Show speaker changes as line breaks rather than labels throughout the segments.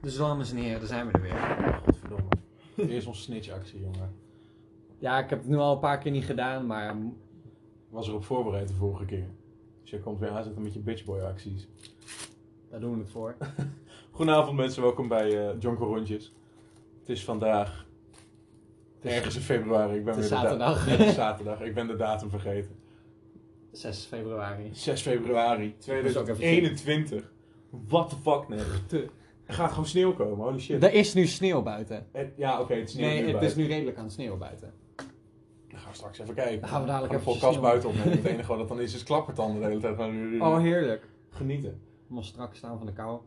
Dus dames en heren, daar zijn we er weer.
Godverdomme. Weer zo'n snitchactie, jongen.
Ja, ik heb het nu al een paar keer niet gedaan, maar
Ik was erop voorbereid de vorige keer. Dus je komt weer aanzetten met je bitchboy-acties.
daar doen we het voor.
Goedenavond mensen, welkom bij eh Jonko Rondjes. Het is vandaag... Ergens in februari. Ik ben
Het is
weer de da-
zaterdag.
Ja, het is zaterdag. Ik ben de datum vergeten.
6 februari.
6 februari
ook even
2021. What the fuck, nee. Er gaat gewoon sneeuw komen, holy shit.
Er is nu sneeuw buiten.
Het- ja, oké, het sneeuwt
Nee,
nu
het is
buiten.
nu redelijk aan het sneeuw buiten.
Dan gaan we straks even kijken.
Dan gaan we dadelijk
Gaan
even
vol kast buiten opnemen. Het enige wat dat dan is, is klappertanden de hele tijd.
Oh, heerlijk.
Genieten.
Allemaal strak staan van de kou.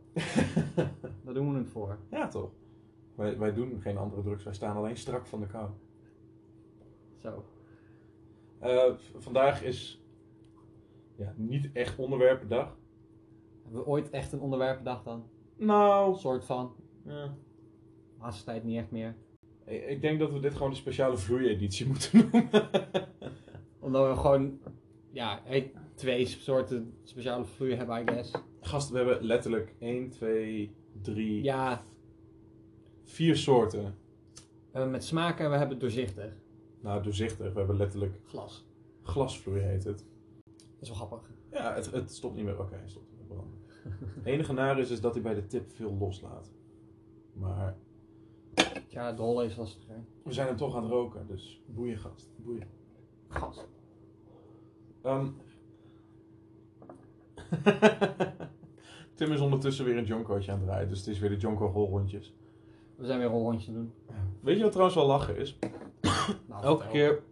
daar doen we het voor.
Ja, toch? Wij, wij doen geen andere drugs, wij staan alleen strak van de kou.
Zo.
Eh, v- vandaag is ja, niet echt onderwerpendag.
Hebben we ooit echt een onderwerpdag dan? Een
Nou,
soort van.
ja.
Laatste tijd niet echt meer.
ik, ik denk dat we dit gewoon een speciale vloeieditie moeten noemen.
Omdat we gewoon, ja, eh, twee soorten speciale vloeien hebben, I guess.
Gast, we hebben letterlijk 1, 2, 3,
Ja,
4 soorten.
we hebben met smaak en we hebben doorzichtig.
Nou, doorzichtig. We hebben letterlijk
Glas.
glasvloei heet het.
Dat is wel grappig.
Ja, het, het stopt niet meer. Oké, hij stopt niet meer branden. Het enige naar is, is dat hij bij de tip veel loslaat. Maar
Ja, de holle is lastiger.
We zijn hem toch aan het roken, dus boeien gast, boeien.
Gas.
Ehm. Tim is ondertussen weer een jonkootje aan het rijden, dus het is weer de jonko rolrondjes.
We zijn weer een rondje doen.
Weet je wat trouwens wel lachen is?
Nou,
Elke
vertel.
keer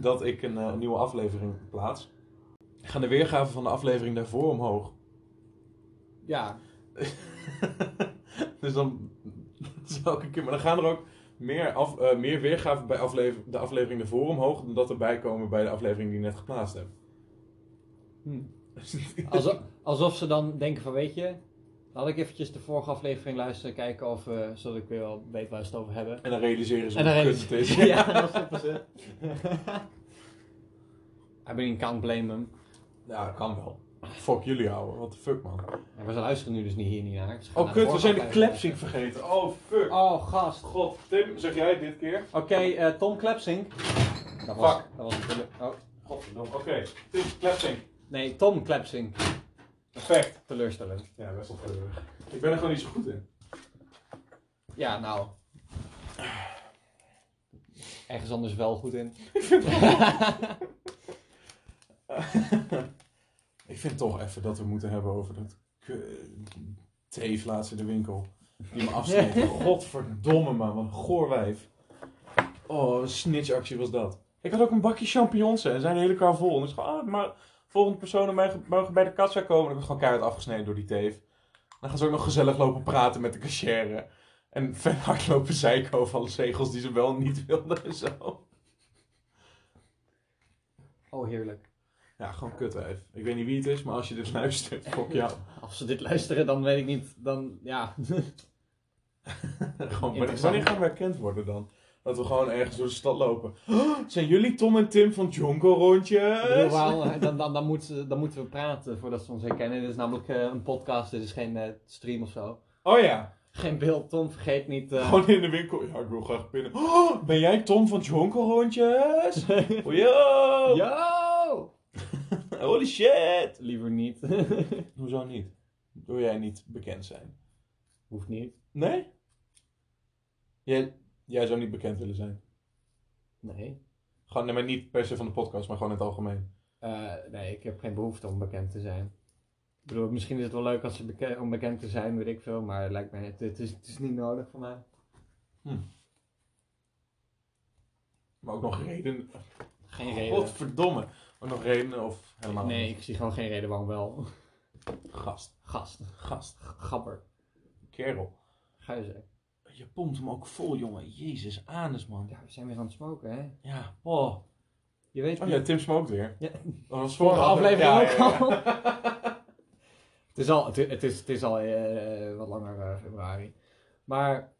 dat ik een eh, nieuwe aflevering plaats, gaan de weergaven van de aflevering daarvoor omhoog.
Ja,
dus dan, dat is elke keer, maar dan gaan er ook meer, af, eh, meer weergaven bij aflever- de aflevering daarvoor omhoog dan dat erbij komen bij de aflevering die ik net geplaatst heb.
Hm. Alsof, alsof ze dan denken van, weet je, laat ik eventjes de vorige aflevering luisteren, kijken of, eh, zodat ik weer wel weet waar ze het over hebben.
En dan realiseren ze
En
hoe
dan
kut het is.
Ja, dat snappen ze. I mean, can't blame them.
Ja, kan wel. Fuck jullie houden, what the fuck man.
Ja, maar ze luisteren nu dus niet hier niet naar. Ze gaan
Oh
naar de
kut, we zijn de
vorige aflevering.
klepsing vergeten. Oh fuck.
Oh, gast.
God, Tim, zeg jij het dit keer?
Oké, eh, Tom Klepsing. Dat was,
Fuck.
dat was natuurlijk... Oh.
Godverdomme, oké. Tim, klepsing.
Nee, Tom Klepsing.
Perfect.
Teleurstellend.
Ja, best wel treurig. Ik ben er gewoon niet zo goed in.
Ja, nou. Ergens anders wel goed in.
Ik vind toch even dat we moeten hebben over dat theeflaats in de winkel. Die me afsneed. Godverdomme man, wat een goor wijf. Oh, een snitchactie was dat. Ik had ook een bakje champignons hè, en zijn de hele kar vol. En dus gewoon, ah, maar volgende personen mogen- mogen bij de kassa komen. En ik werd gewoon keihard afgesneden door die teef. Dan gaan ze ook nog gezellig lopen praten met de cashier. En vet hard lopen zeiken over alle zegels die ze wel en niet wilden en zo.
Oh, heerlijk.
Ja, gewoon kut wijf. Ik weet niet wie het is, maar als je dit luistert, fuck jou.
Als ze dit luisteren, dan weet ik niet. Dan, ja.
Gewoon, wanneer,
Interessant.
wanneer gaan we herkend worden dan? Dat we gewoon ergens door de stad lopen. Oh, zijn jullie Tom en Tim van Jonko
Ik bedoel,
rondjes?
waarom- dan, dan, dan, moeten, dan moeten we praten voordat ze ons herkennen. Dit is namelijk eh, een podcast, dit is geen eh, stream of zo.
Oh ja,
Geen beeld, Tom, vergeet niet. eh,
gewoon in de winkel. Ja, ik wil graag binnen. Oh, ben jij Tom van Jonko rondjes? Oh, yo!
Yo!
Holy shit!
Liever niet.
Hoezo niet? Wil jij niet bekend zijn?
Hoeft niet.
Nee? Jij, jij zou niet bekend willen zijn.
Nee.
Gewoon, nee, maar niet per se van de podcast, maar gewoon in het algemeen.
Eh, nee, ik heb geen behoefte om bekend te zijn. Ik bedoel, misschien is het wel leuk als ze beke- om bekend te zijn, weet ik veel. Maar het lijkt mij, het, het is, het is niet nodig voor mij.
Maar ook nog reden.
Geen reden.
Oh, Godverdomme. Ook nog redenen of helemaal
nee,
niet?
ik zie gewoon geen reden waarom wel.
Gast.
Gast.
Gast,
Gabber.
kerel.
Ga je zeggen.
Je pompt hem ook vol, jongen. Jezus, anus, man.
Ja, we zijn weer aan het smoken, hè?
Ja, oh.
Je weet
Oh ja, Tim smookt weer.
Ja.
Dat was
Vorige aflevering ook
Ja, ja, ja.
al. het is al, het, het is, het is al eh, wat langer eh, februari. Maar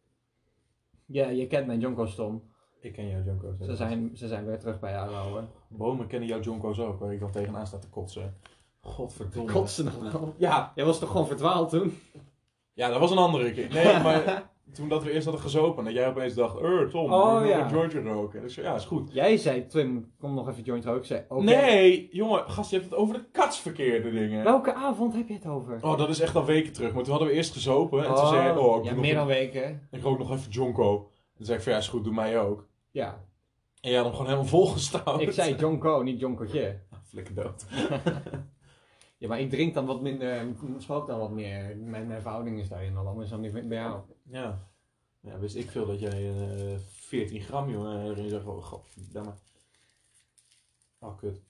ja, je kent mijn Jonko's Tom.
Ik ken jouw Jonko's.
Ze zijn, ze zijn weer terug bij Alouwe.
Bomen kennen jouw Jonko's ook, waar ik dan tegenaan sta te kotsen. Godverdomme.
Kotsen nog wel.
Ja.
Jij was toch gewoon verdwaald toen?
Ja, dat was een andere keer. Nee, maar toen dat we eerst hadden gezopen, dat jij opeens dacht, eh Tom,
Oh,
we
ja.
ja. Georgia roken. Dus ik zei, ja, is goed.
Jij zei, Tim, kom nog even joint roken. Ik zei, oké.
Nee, jongen, gast, je hebt het over de katsverkeerde dingen.
Welke avond heb je het over?
Oh, dat is echt al weken terug. Maar toen hadden we eerst gezopen en toen zei ik, oh, ik,
ja,
doe nog
meer
een-
dan weken.
ik rook nog even Jonko. Toen zei ik van, ja, is goed, doe mij ook.
Ja,
En jij had hem gewoon helemaal volgestaan.
ik zei Jonko, niet Jonkotje.
Flikker dood.
Ja, maar ik drink dan wat minder, smoke dan wat meer. Mijn, mijn verhouding is daarin al anders dan die bij jou.
Ja. Ja, wist ik veel dat jij eh 14 gram, jongen, erin zag. Oh, godverdamme. Oh, kut.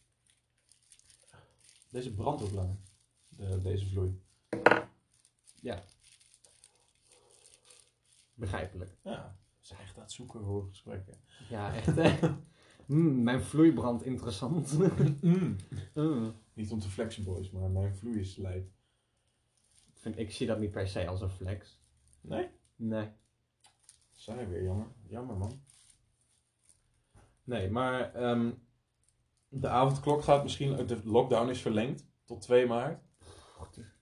Deze brandt ook lang. De, deze vloei.
Begrijpelijk.
Ja. Ze is echt aan het zoeken voor gesprekken.
Ja, echt hè. Mm, mijn vloeibrand interessant.
Mm.
Mm.
Niet om te flexen, boys, maar mijn vloei is lijp.
Vind, ik zie dat niet per se als een flex.
Nee?
Nee.
Zijn weer, jammer. Jammer, man.
Nee,
Maar ehm, de avondklok gaat misschien. eh, De lockdown is verlengd tot 2 maart.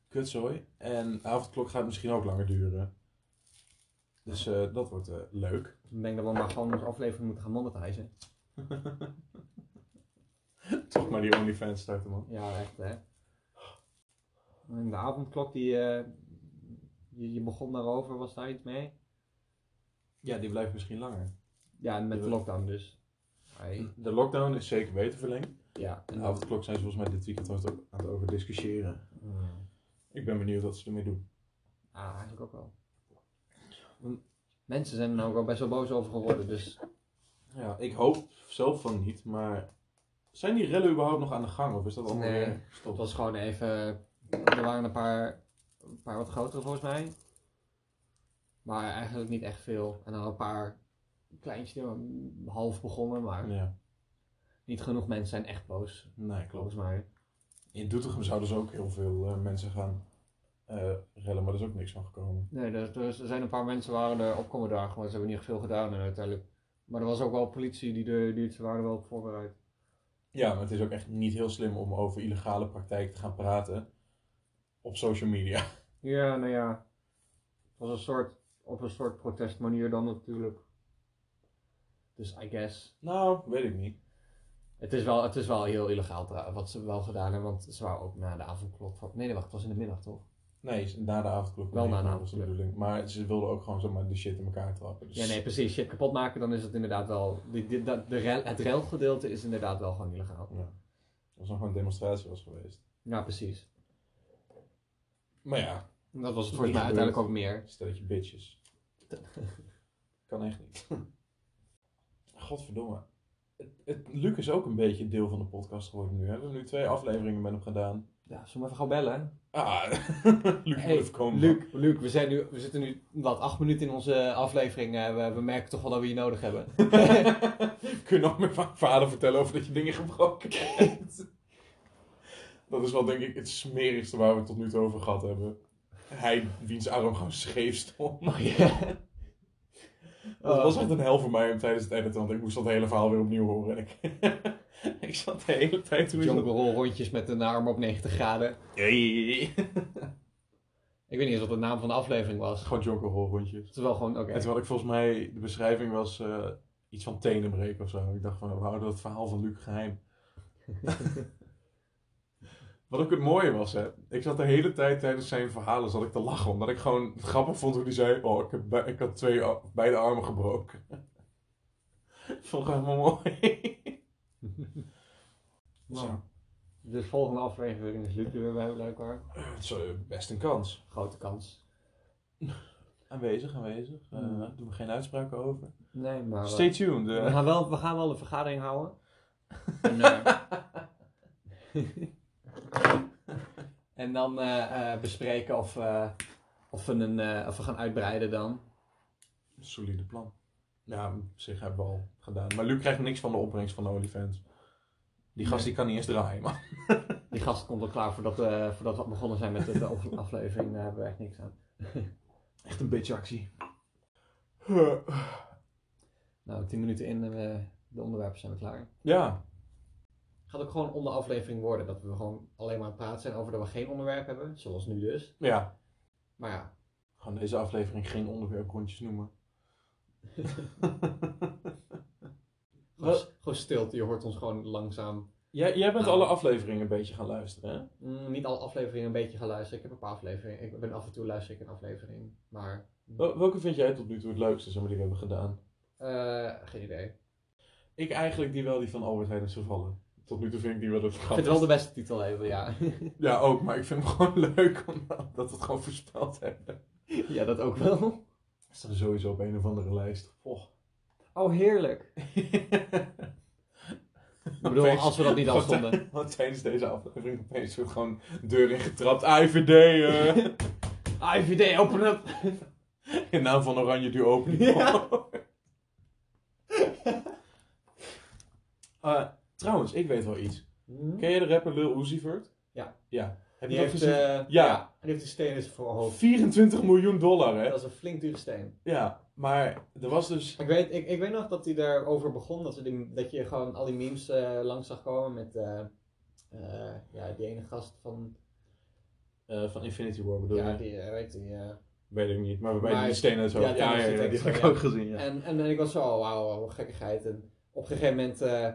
Kutzooi. En de avondklok gaat misschien ook langer duren. Dus eh, dat wordt eh, leuk.
ik denk dat we maar gewoon onze aflevering moeten gaan monetizen.
Toch maar die OnlyFans starten, man.
Ja, echt hè. En de avondklok die eh, je, je begon daarover, was daar iets mee?
Ja, die blijft misschien langer.
Ja, met de lockdown dus. Hey.
De lockdown is zeker weten verlengd.
Ja,
En de avondklok zijn ze volgens mij dit weekend aan het- aan het over discussiëren.
Mm.
Ik ben benieuwd wat ze ermee doen.
Ah, eigenlijk ook wel. Mensen zijn er nou ook wel best wel boos over geworden, dus
Ja, ik hoop zelf van niet, maar zijn die rellen überhaupt nog aan de gang? Of is dat allemaal
Nee.
weer
het
gestopt?
was gewoon even. Er waren een paar, een paar wat grotere volgens mij. Maar eigenlijk niet echt veel. En dan een paar kleintjes die maar half begonnen, maar
Ja,
niet genoeg mensen zijn echt boos.
nee, klopt.
Volgens mij.
In Doetinchem zouden dus ook heel veel eh, mensen gaan eh, rellen, maar er is ook niks van gekomen.
Nee, er, er zijn een paar mensen waren er opkomen dagen, want ze hebben niet veel gedaan en uiteindelijk. Maar er was ook wel politie die, de, die het- ze waren er wel op voorbereid.
Ja, maar het is ook echt niet heel slim om over illegale praktijk te gaan praten op social media.
Ja, nou ja. Het was een soort, op een soort protestmanier dan natuurlijk. Dus I guess.
Nou, weet ik niet.
Het is wel, het is wel heel illegaal trouw- wat ze wel gedaan hebben, want ze waren ook na de avondklok van... Nee, nee, wacht, het was in de middag toch?
Nee, na de avondklok.
Wel na de
was de bedoeling. Maar ze wilden ook gewoon zomaar de shit in elkaar trappen. Dus
Ja, nee, precies. Shit kapot maken, dan is het inderdaad wel... die- die- dat- de rel- het relgedeelte is inderdaad wel gewoon illegaal.
Als er gewoon een demonstratie was geweest.
Ja, precies.
Maar ja,
Dat was het
Niet
volgens mij
gebeurd.
uiteindelijk ook meer.
stelletje bitches. kan echt niet. Godverdomme. Het, het, Luc is ook een beetje deel van de podcast geworden nu. Hè? We hebben nu twee afleveringen met hem gedaan.
Ja, zullen we even gaan bellen?
Ah, Luc
Hey,
moet even komen.
Luc, Luc we, zijn nu, we zitten nu, wat, acht minuten in onze aflevering. eh, we, we merken toch wel dat we je nodig hebben.
Kun je nog met mijn vader vertellen over dat je dingen gebroken hebt? dat is wel denk ik het smerigste waar we het tot nu toe over gehad hebben. Hij, wiens arm gewoon scheef stond.
Maar ja.
Dat
Oh.
was echt een hel voor mij om tijdens het editen, want ik moest dat hele verhaal weer opnieuw horen. En ik, ik zat de hele tijd toen ik
Jungle
dat...
roll rondjes met een arm op 90 graden.
Hey.
Ik weet niet eens wat de naam van de aflevering was.
Gewoon jonkerhol rondjes.
Het is wel gewoon, oké.
En toen had ik volgens mij, de beschrijving was eh, iets van tenenbreek of zo. Ik dacht van, we houden dat verhaal van Luc geheim. Wat ook het mooie was, hè. Ik zat de hele tijd tijdens zijn verhalen zat ik te lachen. Omdat ik gewoon het grappig vond hoe hij zei, oh, ik, heb bij- ik had twee, ar- beide armen gebroken. vond ik helemaal mooi.
Nou, Dus volgende aflevering is Luc er weer bij, blijkbaar.
Het is eh, best een kans.
Grote kans.
Aanwezig, aanwezig. Eh,
Mm.
Doen we geen uitspraken over.
Nee, maar... eh,
Stay tuned. eh.
we, gaan wel, we gaan wel een vergadering houden. En, en dan eh, eh, bespreken of, eh, of, we een, eh, of we gaan uitbreiden dan.
Solide plan. Ja, op zich hebben we al gedaan. Maar Luc krijgt niks van de opbrengst van de OnlyFans. Die gast
Nee.
die kan niet eens draaien, man.
Die gast komt al klaar voordat, eh, voordat we begonnen zijn met de, de af- aflevering. Daar hebben we echt niks aan.
Echt een beetje actie.
Nou, 10 minuten in en we- de onderwerpen zijn we klaar.
Ja,
Gaat ook gewoon onder aflevering worden. Dat we gewoon alleen maar aan het praten zijn over dat we geen onderwerp hebben. Zoals nu dus.
ja.
Maar ja,
Gewoon deze aflevering geen onderwerprondjes noemen.
Gewoon,
Wat?
gewoon stilte, je hoort ons gewoon langzaam.
Jij, jij bent
Ah.
alle afleveringen een beetje gaan luisteren, hè?
Mm, niet alle afleveringen een beetje gaan luisteren. Ik heb een paar afleveringen. Ik ben af en toe luister ik een aflevering. Maar
Wel- Welke vind jij tot nu toe het leukste, zeg maar, die we hebben gedaan?
eh, geen idee.
Ik eigenlijk die wel, die van Albert Heijn en Savallen. Tot nu toe vind ik die wel het
Ik vind
grappigste.
het wel de beste titel hebben, ja.
Ja, ook, maar ik vind hem gewoon leuk, omdat dat we het gewoon voorspeld hebben.
ja, dat ook wel.
Staan sowieso op een of andere lijst. Och.
Oh, heerlijk. Ik bedoel,
Opeens-
als we dat niet
Gewoon
afstonden.
tij- Want tijdens deze aflevering opeens wordt gewoon deur ingetrapt. IVD, eh.
IVD, Ah, open up!
In naam van Oranje Duur open.
Ja.
Eh, trouwens, ik weet wel iets. Ken jij de rapper Lil Uzi Vert?
Ja.
Ja. Heb je
Die
dat
heeft,
gezien?
eh,
Ja.
die heeft een steen in zijn voorhoofd.
24 miljoen dollar, hè?
Dat is een flink dure steen.
Ja, maar er was dus...
Ik weet, ik, ik weet nog dat hij daarover begon, dat, ze die, dat je gewoon al die memes eh, langs zag komen met eh, eh, ja, die ene gast van,
eh, van Infinity War bedoel
ja,
je?
die, eh, weet die, eh.
Weet ik niet, maar waarbij
Maar-
die steen uit zo.
ja, die was niet echt zo, ja.
gezien, ja.
En, en ik was zo, oh, wauw, wauw, gekkigheid. En op een gegeven moment, eh,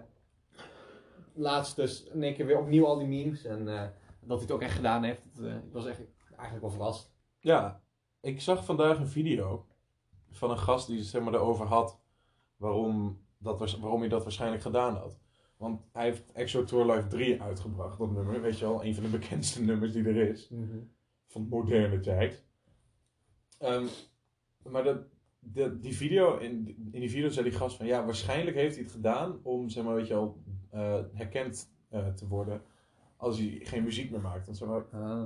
laatst dus in één keer weer opnieuw al die memes. En eh, dat hij het ook echt gedaan heeft, dat, eh, ik was echt, eigenlijk wel verrast.
Ja, ik zag vandaag een video van een gast die het zeg maar, erover had waarom, dat, waars- waarom hij dat waarschijnlijk gedaan had. Want hij heeft Exo Tour Life 3 uitgebracht, dat nummer. Weet je wel, een van de bekendste nummers die er is
Mhm.
van moderne tijd. Ehm, maar dat, dat- die video, in, in die video zei die gast van ja, waarschijnlijk heeft hij het gedaan om zeg maar, weet je wel, eh, herkend eh, te worden als hij geen muziek meer maakt. Want zeg maar,
Ah.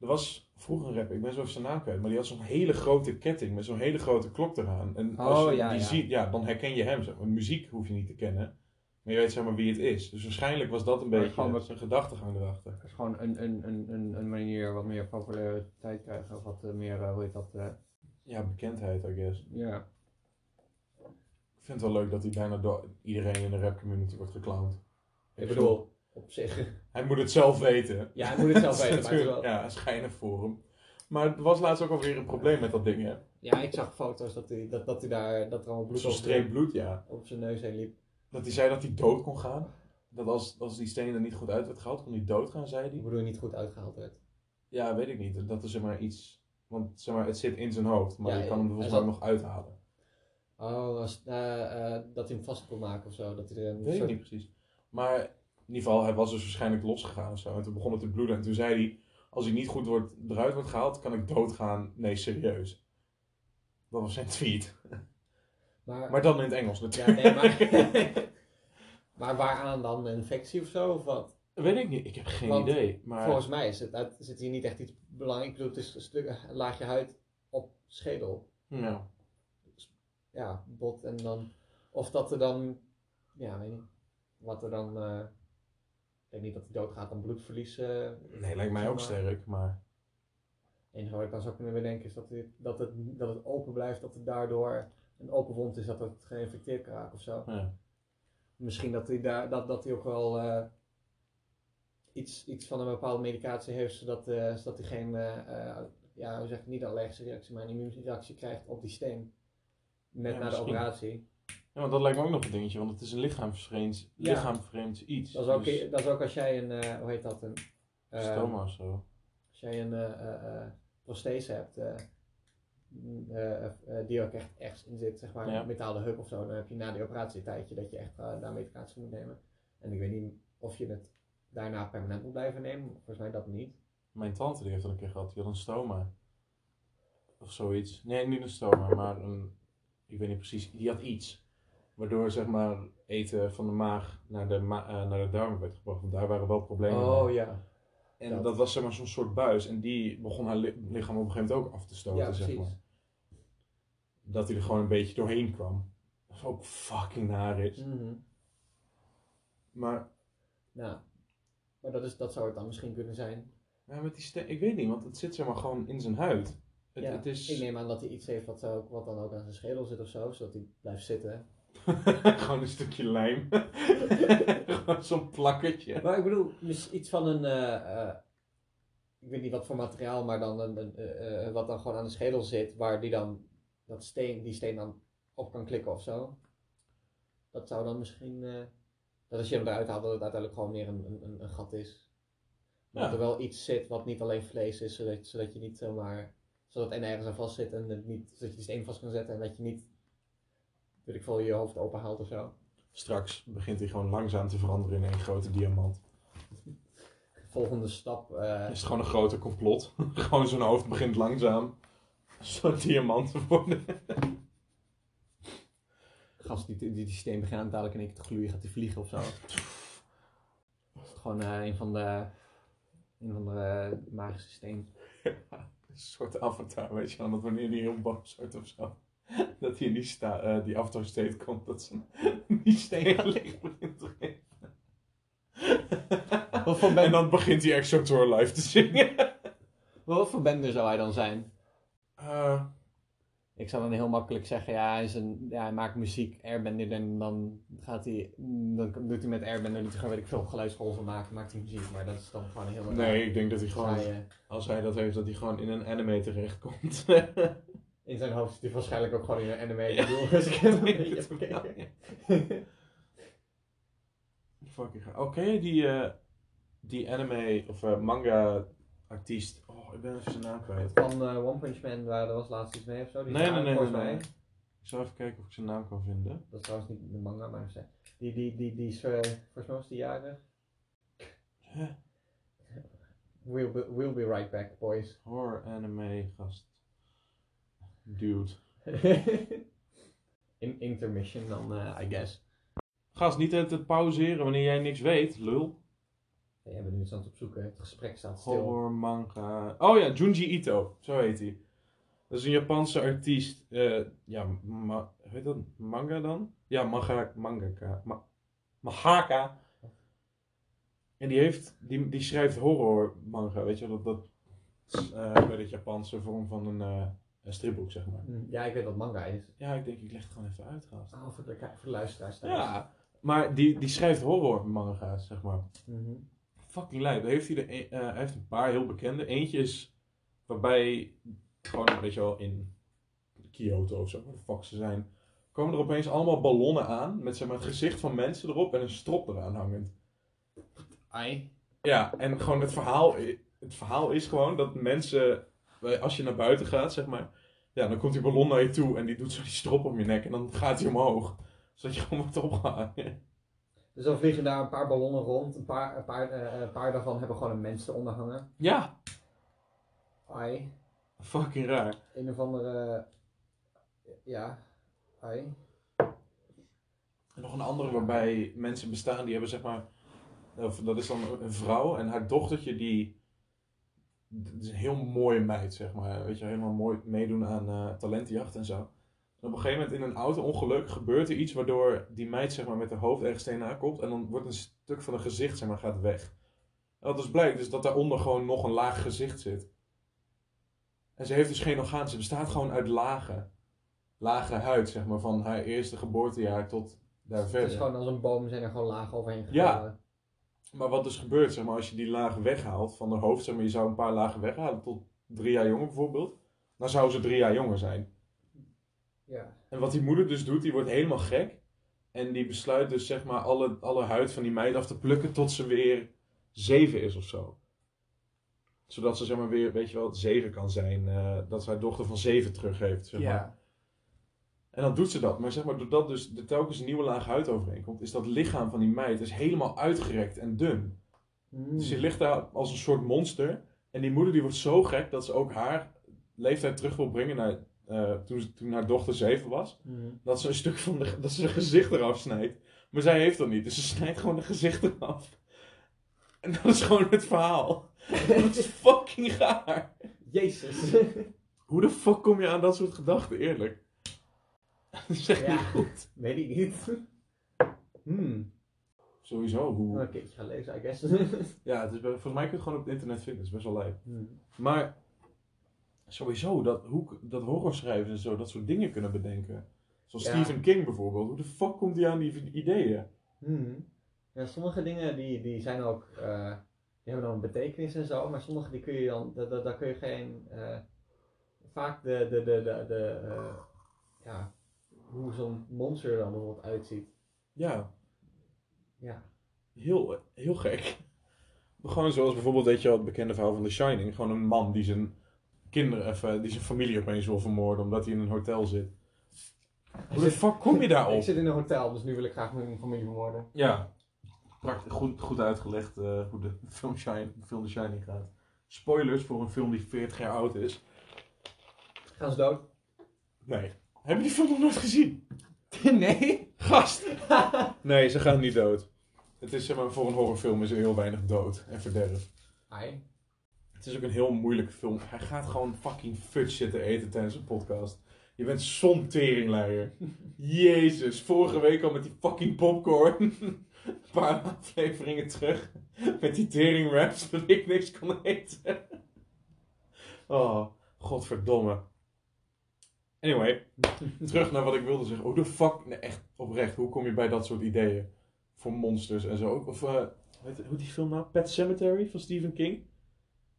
er was vroeger een rapper, ik ben zo even zijn naam kwijt, maar die had zo'n hele grote ketting met zo'n hele grote klok eraan. En als
Oh,
je
ja,
die
ja.
ziet, ja, dan herken je hem. Zeg maar. Muziek hoef je niet te kennen, maar je weet zeg maar wie het is. Dus waarschijnlijk was dat een
Maar
beetje
gewoon wat-
zijn gedachtegang erachter.
Dat is gewoon een, een, een, een, een manier wat meer populariteit krijgen. Of wat eh, meer, eh, hoe heet dat? eh,
Ja, bekendheid, I guess.
ja.
Ik vind het wel leuk dat hij bijna door iedereen in de rap community wordt geclowned.
Ik bedoel, op zich.
Hij moet het zelf weten.
Ja, hij moet het zelf
Dat is
weten, maar het is wel...
natuurlijk- Ja, schijnen voor hem. Maar er was laatst ook alweer een probleem met dat ding, hè?
Ja, ik zag foto's dat, hij, dat, dat, hij daar, dat er allemaal bloed
Zo'n
op,
streep bloed, ja.
op zijn neus heen liep.
Dat hij zei dat hij dood kon gaan. Dat als, als die steen er niet goed uit werd gehaald, kon hij dood gaan, zei
Ik
hij.
bedoel, niet goed uitgehaald werd.
Ja, weet ik niet. Dat is zeg maar iets... Want zeg maar, het zit in zijn hoofd, maar
Ja,
je kan hem
hij
volgens mij
zat-
nog uithalen.
Oh, als, eh, eh, dat hij hem vast kon maken of zo. Dat hij er een
Weet ik
soort-
niet precies. Maar in ieder geval, hij was dus waarschijnlijk losgegaan of zo. En toen begon het te bloeden. En toen zei hij, als hij niet goed wordt, eruit wordt gehaald, kan ik doodgaan. Nee, serieus. Dat was zijn tweet.
Maar,
Maar dan in het Engels
ja,
natuurlijk.
nee, maar, maar waaraan dan? Een infectie of zo? Of wat?
Weet ik niet. Ik heb geen
Want
idee. Maar
Volgens mij is het, het- zit hier niet echt iets belangrijks. Ik bedoel, het is een stuk, een laagje huid op schedel.
ja.
Ja, bot en dan... Of dat er dan... Ja, weet niet. Wat er dan... eh, ik denk niet dat hij doodgaat aan bloedverlies. eh
Nee, lijkt mij ook sterk. Maar
Het enige wat ik dan zou kunnen bedenken is dat, hij- dat, het, dat het open blijft. Dat het daardoor een open wond is. Dat het geïnfecteerd kan raken of zo.
ja.
misschien dat hij, daar, dat, dat hij ook wel eh, iets, iets van een bepaalde medicatie heeft, zodat, eh, zodat hij geen, eh, eh, ja, hoe zeg ik, niet een allergische reactie, maar een immuunreactie krijgt op die steen. Net na
Ja,
de
misschien.
operatie.
ja, want dat lijkt me ook nog een dingetje. Want het is een lichaamsvreemd,
Ja.
lichaamvreemd iets.
Dat is ook,
Dus
dat is ook als jij een, eh, hoe heet dat, een, eh,
stoma of zo.
als jij een eh, eh, eh, prosthese hebt, eh, mm, eh, eh, die ook echt ergens in zit, zeg maar,
Ja.
een metalen hub of zo, dan heb je na die operatie een tijdje dat je echt eh, daar medicatie moet nemen. En ik weet niet of je het daarna permanent moet blijven nemen, volgens mij dat niet.
Mijn tante die heeft dat een keer gehad. Die had een stoma. Of zoiets. Nee, niet een stoma, maar een... Ik weet niet precies. Die had iets. Waardoor zeg maar eten van de maag naar de, ma- eh, naar de darmen werd gebracht. Want daar waren wel problemen mee.
Oh ja.
En
Dat.
dat, was zeg maar zo'n soort buis. En die begon haar li- lichaam op een gegeven moment ook af te stoten,
Ja,
zeg
precies.
maar. Dat hij er gewoon een beetje doorheen kwam. Dat is ook fucking naar is.
Mhm.
Maar
Nou, maar dat, is, dat zou het dan misschien kunnen zijn.
ja, met die steen, ik weet niet, want het zit zeg maar gewoon in zijn huid. Het,
Ja,
het is
Ik neem aan dat hij iets heeft wat, zou- wat dan ook aan zijn schedel zit of zo, zodat hij blijft zitten.
gewoon een stukje lijm. gewoon zo'n plakketje.
Maar ik bedoel, mis- iets van een, eh, eh, ik weet niet wat voor materiaal, maar dan een, een, eh, eh, wat dan gewoon aan de schedel zit, waar die dan dat steen, die steen dan op kan klikken of zo. Dat zou dan misschien, eh, dat als je hem eruit haalt, dat het uiteindelijk gewoon meer een, een- een, een gat is. Maar
Ja.
dat er wel iets zit wat niet alleen vlees is, zodat, zodat je niet zomaar, zodat het en ergens aan vast zit en het niet, zodat je die steen vast kan zetten en dat je niet, weet ik veel, je hoofd open haalt of zo.
Straks begint hij gewoon langzaam te veranderen in één grote diamant.
Volgende stap, eh,
Is het gewoon een groter complot? gewoon zijn hoofd begint langzaam zo'n diamant te worden.
gast die, die, die steen begint aan dadelijk in één keer te gloeien, gaat die vliegen of zo. Is het gewoon eh, een van de, een van de eh, magische steen.
Een soort avatar, weet je wel. Dat wanneer hij heel boos wordt of zo. Dat hij in die, sta, eh, die avatar state komt, dat zijn die steen gelijk begint te geven.
Wat voor,
En
ben,
dan begint hij Extra Tour live te zingen.
wat voor bender zou hij dan zijn?
Eh,
Ik zou dan heel makkelijk zeggen, ja, hij, is een, ja, hij maakt muziek, airbender, en dan gaat hij, dan doet hij met airbender niet gewoon, weet ik veel, geluidsgolven maken, maakt hij muziek, maar dat is dan gewoon heel eh,
nee, ik denk dat hij
Gewoon...
gewoon, als hij dat heeft, dat hij gewoon in een anime terechtkomt.
in zijn hoofd zit hij waarschijnlijk ook gewoon in een anime. Ik bedoel, dus ik heb een beetje gekeken.
Fucking gaaf. Oké, die, eh, die anime of eh, manga artiest. Oh, ik ben even zijn naam kwijt.
Van eh, One Punch Man, waar er was laatst iets mee of zo. Die
Nee,
is
nee, nee, nee,
volgens
nee.
mij.
Ik zou even kijken of ik zijn naam kan vinden.
Dat is trouwens niet de manga, maar ze- die, die, die, die is eh, volgens mij was die jarig.
Huh?
We'll be, we'll be right back, boys.
Horror anime gast. Dude.
In intermission dan, eh, I guess.
Gast, niet het pauzeren wanneer jij niks weet, lul.
Nee, jij bent nu iets aan het opzoeken. Het gesprek staat stil.
Horror manga. Oh ja, Junji Ito, zo heet hij. Dat is een Japanse artiest. Eh, ja, ma- hoe heet dat? Manga dan? Ja, manga, mangaka. Ma- mangaka. En die, heeft, die, die schrijft horror manga, weet je wel, dat, dat is, eh, bij de Japanse vorm van een, eh, een stripboek, zeg maar.
Hm, Ja, ik weet wat manga is.
Ja, ik denk, ik leg het gewoon even uit, gast.
Oh, voor de, voor de luisteraars thuis.
Ja, maar die, die schrijft horror manga's, zeg maar.
Mhm.
Fucking lijp. Daar Heeft hij, de, e- eh, hij heeft een paar heel bekende. Eentje is waarbij gewoon, weet je wel, in Kyoto of zo, waar de fuck ze zijn, komen er opeens allemaal ballonnen aan met zeg maar, het gezicht van mensen erop en een strop eraan hangend.
Ai.
Ja, en gewoon het verhaal, i- het verhaal is gewoon dat mensen, eh, als je naar buiten gaat, zeg maar, ja, dan komt die ballon naar je toe en die doet zo die strop om je nek en dan gaat hij omhoog. Zodat je gewoon wordt opgehangen.
Dus dan vliegen daar een paar ballonnen rond. Een paar, een paar, eh, een paar daarvan hebben gewoon een mens eronder hangen.
Ja,
Ai.
fucking raar.
Een of andere... Ja. Ai.
En nog een andere waarbij mensen bestaan die hebben zeg maar. Of dat is dan een vrouw en haar dochtertje die. Dat is een heel mooie meid, zeg maar. Weet je, helemaal mooi meedoen aan eh, talentenjacht en zo. En op een gegeven moment in een auto-ongeluk gebeurt er iets waardoor die meid zeg maar, met haar hoofd ergens tegenaan komt. En dan wordt een stuk van haar gezicht zeg maar, gaat weg. En dat dus blijkt dus dat daaronder gewoon nog een laag gezicht zit. En ze heeft dus geen orgaan, ze bestaat gewoon uit lagen. Lage huid, zeg maar, van haar eerste geboortejaar tot daar verder.
Het is gewoon als een boom zijn er gewoon lagen overheen
Ja.
gevallen.
Maar wat dus gebeurt, zeg maar, als je die lagen weghaalt van haar hoofd, zeg maar, je zou een paar lagen weghalen tot drie jaar jonger bijvoorbeeld, dan zou ze drie jaar jonger zijn.
Ja.
En wat die moeder dus doet, die wordt helemaal gek. En die besluit dus, zeg maar, alle, alle huid van die meid af te plukken tot ze weer zeven is of zo. Zodat ze, zeg maar, weer, weet je wel, zeven kan zijn. eh, dat ze haar dochter van zeven terug heeft, zeg maar. En dan doet ze dat. Maar zeg maar, doordat dus er telkens een nieuwe laag huid overheen komt, is dat lichaam van die meid is helemaal uitgerekt en dun.
Mm.
Dus die ligt daar als een soort monster. En die moeder die wordt zo gek dat ze ook haar leeftijd terug wil brengen naar eh, toen, ze- toen haar dochter zeven was.
Mm.
Dat ze een stuk van de, dat ze haar gezicht eraf snijdt. Maar zij heeft dat niet, dus ze snijdt gewoon haar gezicht eraf. En dat is gewoon het verhaal. Dat is fucking raar.
Jezus.
Hoe de fuck kom je aan dat soort gedachten, eerlijk? Dat is echt
Ja.
niet goed.
Weet ik niet. Hmm.
Sowieso,
Nog
hoe...
een keertje gaan lezen, I guess.
Ja, het is, bij- volgens mij kun je het gewoon op het internet vinden, het is best wel lijp.
Hmm.
Maar sowieso, dat, hoe, dat horrorschrijvers en zo dat soort dingen kunnen bedenken. Zoals
Ja.
Stephen King bijvoorbeeld. Hoe de fuck komt hij aan die ideeën?
Hmm. Ja, sommige dingen die, die zijn ook eh, die hebben dan een betekenis en zo, maar sommige die kun je dan, daar, daar, daar kun je geen, eh, vaak de, de, de, de, de eh, ja, hoe zo'n monster dan bijvoorbeeld uitziet.
Ja,
Ja,
heel, heel gek. Gewoon zoals bijvoorbeeld, weet je wel, het bekende verhaal van The Shining. Gewoon een man die zijn kinderen, of, eh, die zijn familie opeens wil vermoorden omdat hij in een hotel zit. Hoe de fuck kom je
ik
daarop?
zit in een hotel, dus nu wil ik graag mijn familie vermoorden.
Ja, prachtig, goed, goed uitgelegd eh, hoe de film, Shine, film The Shining gaat. Spoilers voor een film die 40 jaar oud is.
Gaan ze dood?
Nee. Heb je die film nog nooit gezien?
nee.
Gast! nee, ze gaan niet dood. Het is, zeg maar, voor een horrorfilm is er heel weinig dood en verderf.
Ai.
Het is ook een heel moeilijke film. Hij gaat gewoon fucking fudge zitten eten tijdens een podcast. Je bent zo'n teringleier. Jezus, vorige week al met die fucking popcorn. Een paar afleveringen terug. Met die tering wraps dat ik niks kon eten. Oh, godverdomme. Anyway, terug naar wat ik wilde zeggen. Hoe de fuck, nee, echt oprecht, hoe kom je bij dat soort ideeën? Voor monsters en zo. Ook- Of, eh, hoe heet- hoe heet die film nou? Pet Cemetery van Stephen King?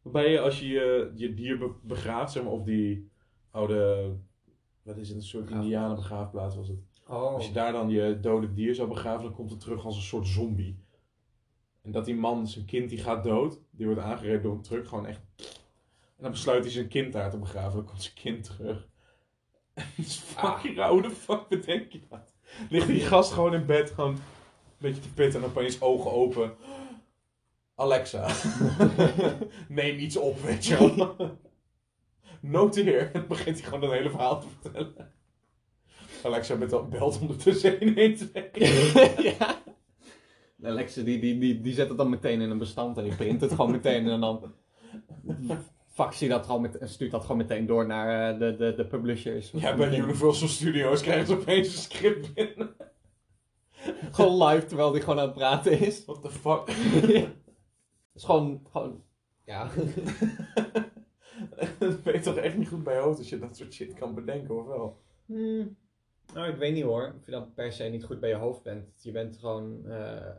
Waarbij je als je je, je dier be- begraaft, zeg maar, of die oude, wat is het, een soort
Begraafplaats.
indianenbegraafplaats was het.
Oh.
Als je daar dan je dode dier zou begraven, dan komt het terug als een soort zombie. En dat die man, zijn kind, die gaat dood, die wordt aangereden door een truck, gewoon echt. En dan besluit hij zijn kind daar te begraven, dan komt zijn kind terug. Het is fucking raar, hoe de fuck bedenk je dat? Ligt die gast gewoon in bed, gewoon een beetje te pitten en opeens ogen open. Alexa, neem iets op, weet je wel. Noteer. En dan begint hij gewoon dat hele verhaal te vertellen. Alexa met dat belt ondertussen 112.
ja. Alexa die, die, die, die zet het dan meteen in een bestand en die print het gewoon meteen en dan fax je dat gewoon met, en stuurt dat gewoon meteen door naar eh, de, de, de publishers.
Ja, bij Universal Studios krijgen ze opeens een script binnen.
Gewoon live terwijl die gewoon aan het praten is.
What the fuck?
Het is gewoon, gewoon, ja.
Dat weet toch echt niet goed bij je hoofd als je dat soort shit kan bedenken, of wel?
Hmm. Nou, ik weet niet hoor. Of je dan per se niet goed bij je hoofd bent. Je bent gewoon. eh,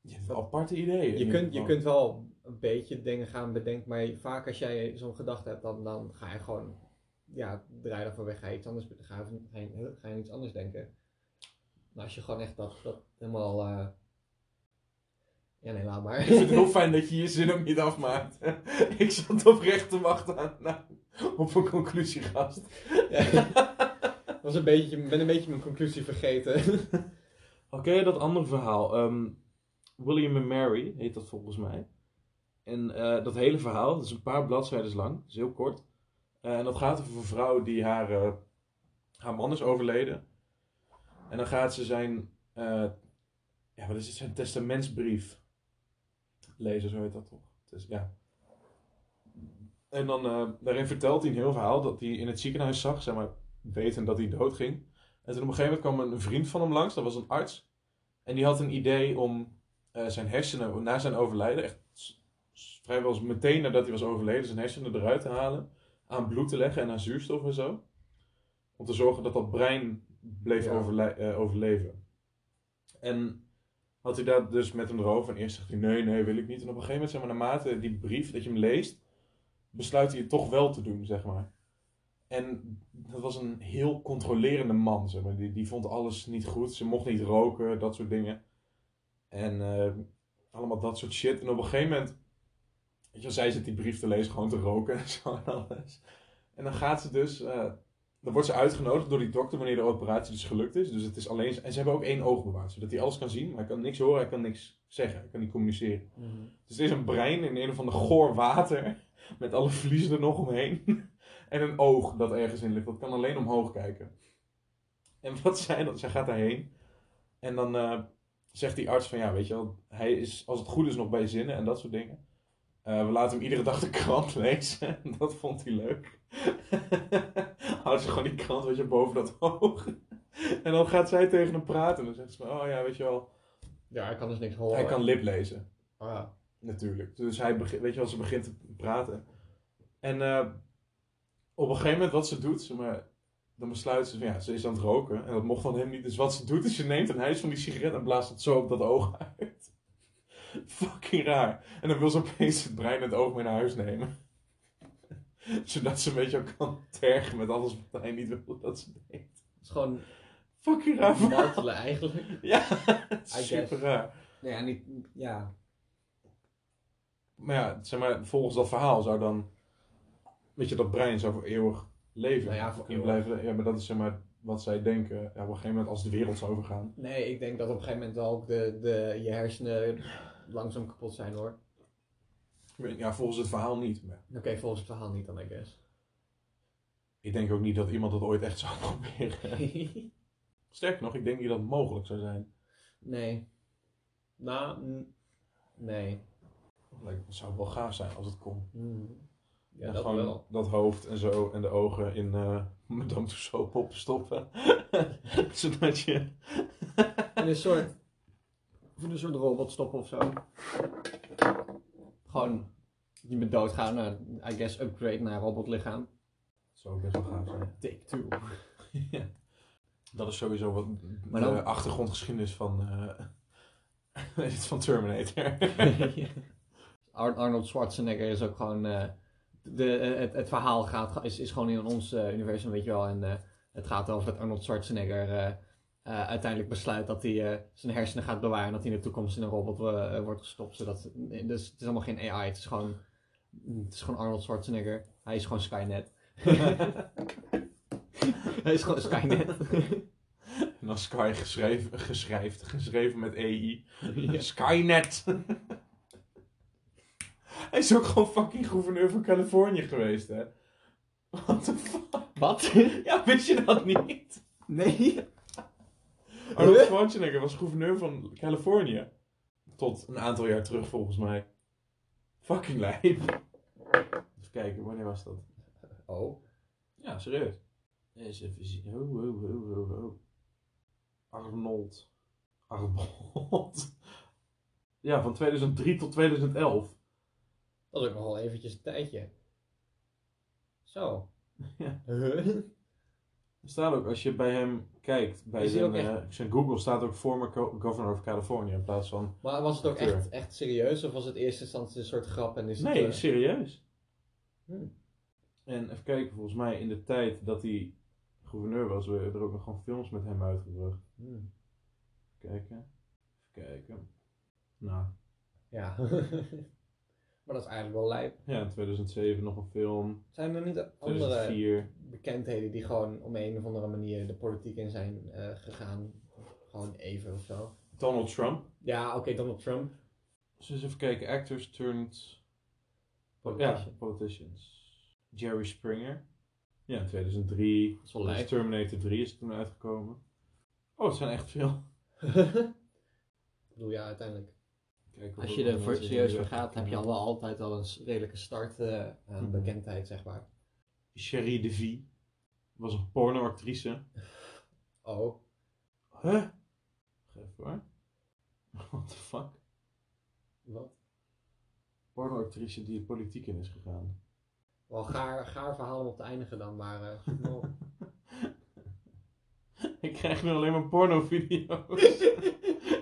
Je hebt wel aparte ideeën.
je, kunt, je kunt wel een beetje dingen gaan bedenken, maar vaak als jij zo'n gedachte hebt, dan, dan ga je gewoon. Ja, draai daarvoor weg. Ga je iets anders ga je, ga je, ga je iets anders denken. Maar als je gewoon echt dat, dat helemaal. eh, Ja, nee, laat maar.
Ik vind het heel fijn dat je je zin ook niet afmaakt. Ik zat oprecht te wachten aan, nou, op een conclusie, gast.
Dat was een beetje, ik ben een beetje mijn conclusie vergeten.
Oké, dat andere verhaal. Ehm, William en Mary heet dat volgens mij. En eh, dat hele verhaal, dat is een paar bladzijden lang, dat is heel kort. Eh, en dat gaat over een vrouw die haar, eh, haar man is overleden. En dan gaat ze zijn, eh, ja, wat is het, zijn testamentsbrief lezen, zo heet dat toch? Het is- ja. En dan, eh, daarin vertelt hij een heel verhaal dat hij in het ziekenhuis zag, zeg maar, weten dat hij doodging. En toen op een gegeven moment kwam een vriend van hem langs, dat was een arts. En die had een idee om eh, zijn hersenen na zijn overlijden, echt s- s- vrijwel meteen nadat hij was overleden, zijn hersenen eruit te halen, aan bloed te leggen en aan zuurstof en zo. Om te zorgen dat dat brein bleef
Ja.
overlij- eh, overleven. En had hij daar dus met hem erover. En eerst zegt hij: nee, nee, wil ik niet. En op een gegeven moment, zeg maar, naarmate die brief dat je hem leest, besluit hij het toch wel te doen, zeg maar. En dat was een heel controlerende man, zeg maar. Die, die vond alles niet goed. Ze mocht niet roken, dat soort dingen. En eh, allemaal dat soort shit. En op een gegeven moment, weet je wel, zij zit die brief te lezen, gewoon te roken en zo en alles. En dan gaat ze dus, eh, dan wordt ze uitgenodigd door die dokter wanneer de operatie dus gelukt is. Dus het is alleen, en ze hebben ook één oog bewaard, zodat hij alles kan zien. Maar hij kan niks horen, hij kan niks zeggen, hij kan niet communiceren.
Mhm.
Dus het is een brein in een of ander goor water. Met alle vliezen er nog omheen. En een oog dat ergens in ligt. Dat kan alleen omhoog kijken. En wat zij dan? Zij gaat daarheen. En dan eh, zegt die arts van ja, weet je wel. Hij is als het goed is nog bij zinnen en dat soort dingen. Eh, we laten hem iedere dag de krant lezen. dat vond hij leuk. Houdt ze gewoon die krant, weet je, boven dat oog. en dan gaat zij tegen hem praten. En dan zegt ze van, oh ja, weet je wel.
Ja, ik kan dus niks horen.
Hij kan lip lezen.
Oh ja.
Natuurlijk. Dus hij begint, weet je wel, ze begint te praten. En eh, op een gegeven moment wat ze doet, zeg maar, dan besluit ze van ja, ze is aan het roken en dat mocht van hem niet. Dus wat ze doet is ze neemt een hijs van die sigaret en blaast het zo op dat oog uit. Fucking raar. En dan wil ze opeens het brein en het oog mee naar huis nemen. Zodat ze een beetje ook kan tergen met alles wat hij niet wil dat ze deed.
Het is gewoon
Fucking raar. verhaal.
martelen eigenlijk.
Ja, het
I guess.
is super raar.
Nee, ja, niet, ja.
Maar ja, zeg maar, volgens dat verhaal zou dan... Weet je, dat brein zou voor eeuwig leven.
Nou ja, voor
Kunnen
eeuwig.
Blijven, ja, maar dat is zeg maar wat zij denken. Ja, op een gegeven moment als de wereld zou overgaan.
Nee, ik denk dat op een gegeven moment wel ook de, de, je hersenen langzaam kapot zijn hoor.
Ik weet- Ja, volgens het verhaal niet. Maar
Oké, volgens het verhaal niet dan, I guess.
ik denk ook niet dat iemand dat ooit echt zou proberen. Sterker nog, ik denk niet dat het mogelijk zou zijn.
nee. Nou, n- nee.
Lijkt- Het zou wel gaaf zijn als het kon.
Hmm. Ja,
En
dat
gewoon
wel.
dat hoofd en zo en de ogen in eh Madame Tussauds poppen stoppen. Zodat je...
In een soort, in een soort robot stoppen of zo. Gewoon niet meer doodgaan, naar, I guess upgrade naar een robotlichaam.
Dat zou ook best wel gaaf zijn.
Take two.
Ja. Dat is sowieso wat
Maar
de
dan-
achtergrondgeschiedenis van, eh, van Terminator.
Ar- Arnold Schwarzenegger is ook gewoon. eh, de, eh, het, het verhaal gaat, is, is gewoon in ons eh, universum, weet je wel. En eh, het gaat over dat Arnold Schwarzenegger eh, eh, uiteindelijk besluit dat hij eh, zijn hersenen gaat bewaren. En dat hij in de toekomst in een robot eh, eh, wordt gestopt. Zodat, nee, dus het is allemaal geen AI, het is gewoon, het is gewoon Arnold Schwarzenegger. Hij is gewoon Skynet. Hij is gewoon Skynet.
en dan Sky geschreven, geschrijft, geschreven met EI. Skynet. Hij is ook gewoon fucking gouverneur van Californië geweest, hè? What the fuck?
Wat?
Ja, wist je dat niet?
Nee.
Arnold Schwarzenegger was gouverneur van Californië. Tot een aantal jaar terug, volgens mij. Fucking lijp. Even kijken, wanneer was dat?
Oh.
Ja, serieus. Eens even zien. Ho, ho, ho, ho, ho. Arnold. Arnold. Ja, van 2003 tot 2011.
Dat is ook nogal eventjes een tijdje. Zo.
Ja.
Huh?
Er staat ook, als je bij hem kijkt, bij
Is hij
zijn,
ook echt-
eh, zijn Google staat ook former co- governor of California in plaats van...
Maar was het ook
Acteur.
echt, echt serieus of was het in eerste instantie een soort grap en is het...
Nee,
eh,
serieus.
hmm.
En even kijken, volgens mij in de tijd dat hij gouverneur was, werden er ook nog gewoon films met hem uitgebracht.
Hmm.
Kijken. Even kijken. Nou,
Ja. maar dat is eigenlijk wel lijp.
ja, in 2007 nog een film.
Zijn er niet andere
2004.
bekendheden die gewoon om een of andere manier de politiek in zijn eh, gegaan? Gewoon even of zo.
Donald Trump.
Ja, oké, Donald Trump.
Dus eens even kijken. Actors turned...
Politician.
Ja, politicians. Jerry Springer. Ja, in 2003.
Dat is wel
Dus
lijp.
Terminator 3 is toen uitgekomen. Oh, het zijn echt veel.
Ik bedoel, ja, uiteindelijk.
Kijk,
Als je er voor serieus voor gaat, heb je al
al.
wel altijd al een s- redelijke start eh, aan
Mhm.
bekendheid, zeg maar.
Sherry DeVie. Was een pornoactrice.
Oh,
Huh? Geef hoor. What the fuck?
wat?
Pornoactrice die de politiek in is gegaan.
Wel gaar, gaar verhaal om op te eindigen dan, maar... eh, goed mogelijk.
Ik krijg nu alleen maar pornovideo's.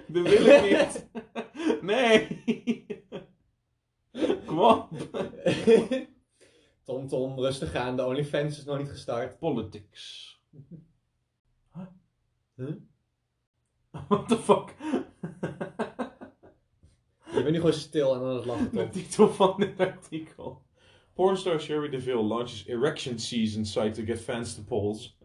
Dat wil ik niet. Nee. Kom op.
Tom Tom, rustig aan, de OnlyFans is nog niet gestart.
Politics. Huh?
Huh?
What the fuck?
Je bent nu gewoon stil en aan het lachen,
De
Tom.
titel van dit artikel. Pornstar Sherry DeVille launches erection season site to get fans to polls.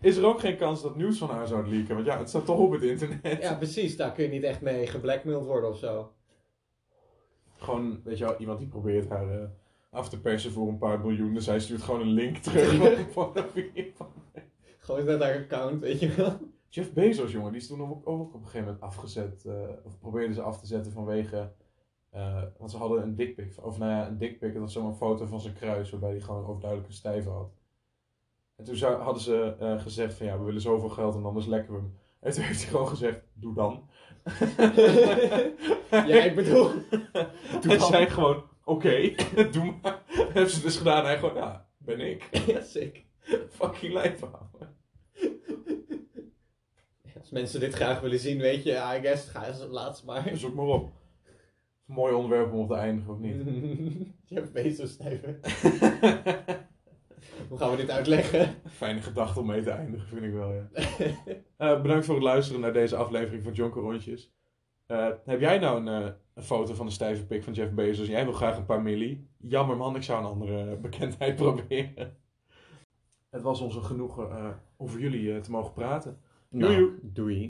Is er ook geen kans dat nieuws van haar zou leaken? Want ja, het staat toch op het internet.
ja, precies, daar kun je niet echt mee geblackmailed worden of zo.
Gewoon, weet je wel, iemand die probeert haar eh, af te persen voor een paar miljoen. Dus hij stuurt gewoon een link terug. van de video van-
Gewoon naar haar account, weet je wel.
Jeff Bezos, jongen, die is toen ook, ook op een gegeven moment afgezet. eh, of probeerden ze af te zetten vanwege. eh, want ze hadden een dikpik. Of nou ja, een dikpik. Dat was zo'n foto van zijn kruis. Waarbij hij gewoon overduidelijk een stijve had. En toen zou- hadden ze eh, gezegd: van ja, we willen zoveel geld en anders lekken we hem. En toen heeft hij gewoon gezegd: doe dan.
ja, ik bedoel...
Toen
dan.
zei gewoon: oké, doe maar. En hebben ze dus gedaan. En hij gewoon: ja, ben ik.
ja, sick.
Fucking lijf houden.
Als mensen dit graag willen zien, weet je, I guess, ga eens laatst maar.
Zoek maar op. Een mooi onderwerp om op te eindigen, of niet?
Jeff Bezos, Steven. Hoe gaan we dit uitleggen?
Fijne gedachte om mee te eindigen, vind ik wel, ja. Eh, bedankt voor het luisteren naar deze aflevering van Jonker Rondjes. Eh, heb jij nou een, eh, een foto van de stijve pik van Jeff Bezos en jij wil graag een paar milli? Jammer man, ik zou een andere eh, bekendheid proberen. Het was ons een genoegen eh, over jullie eh, te mogen praten. Joejoe.
doei.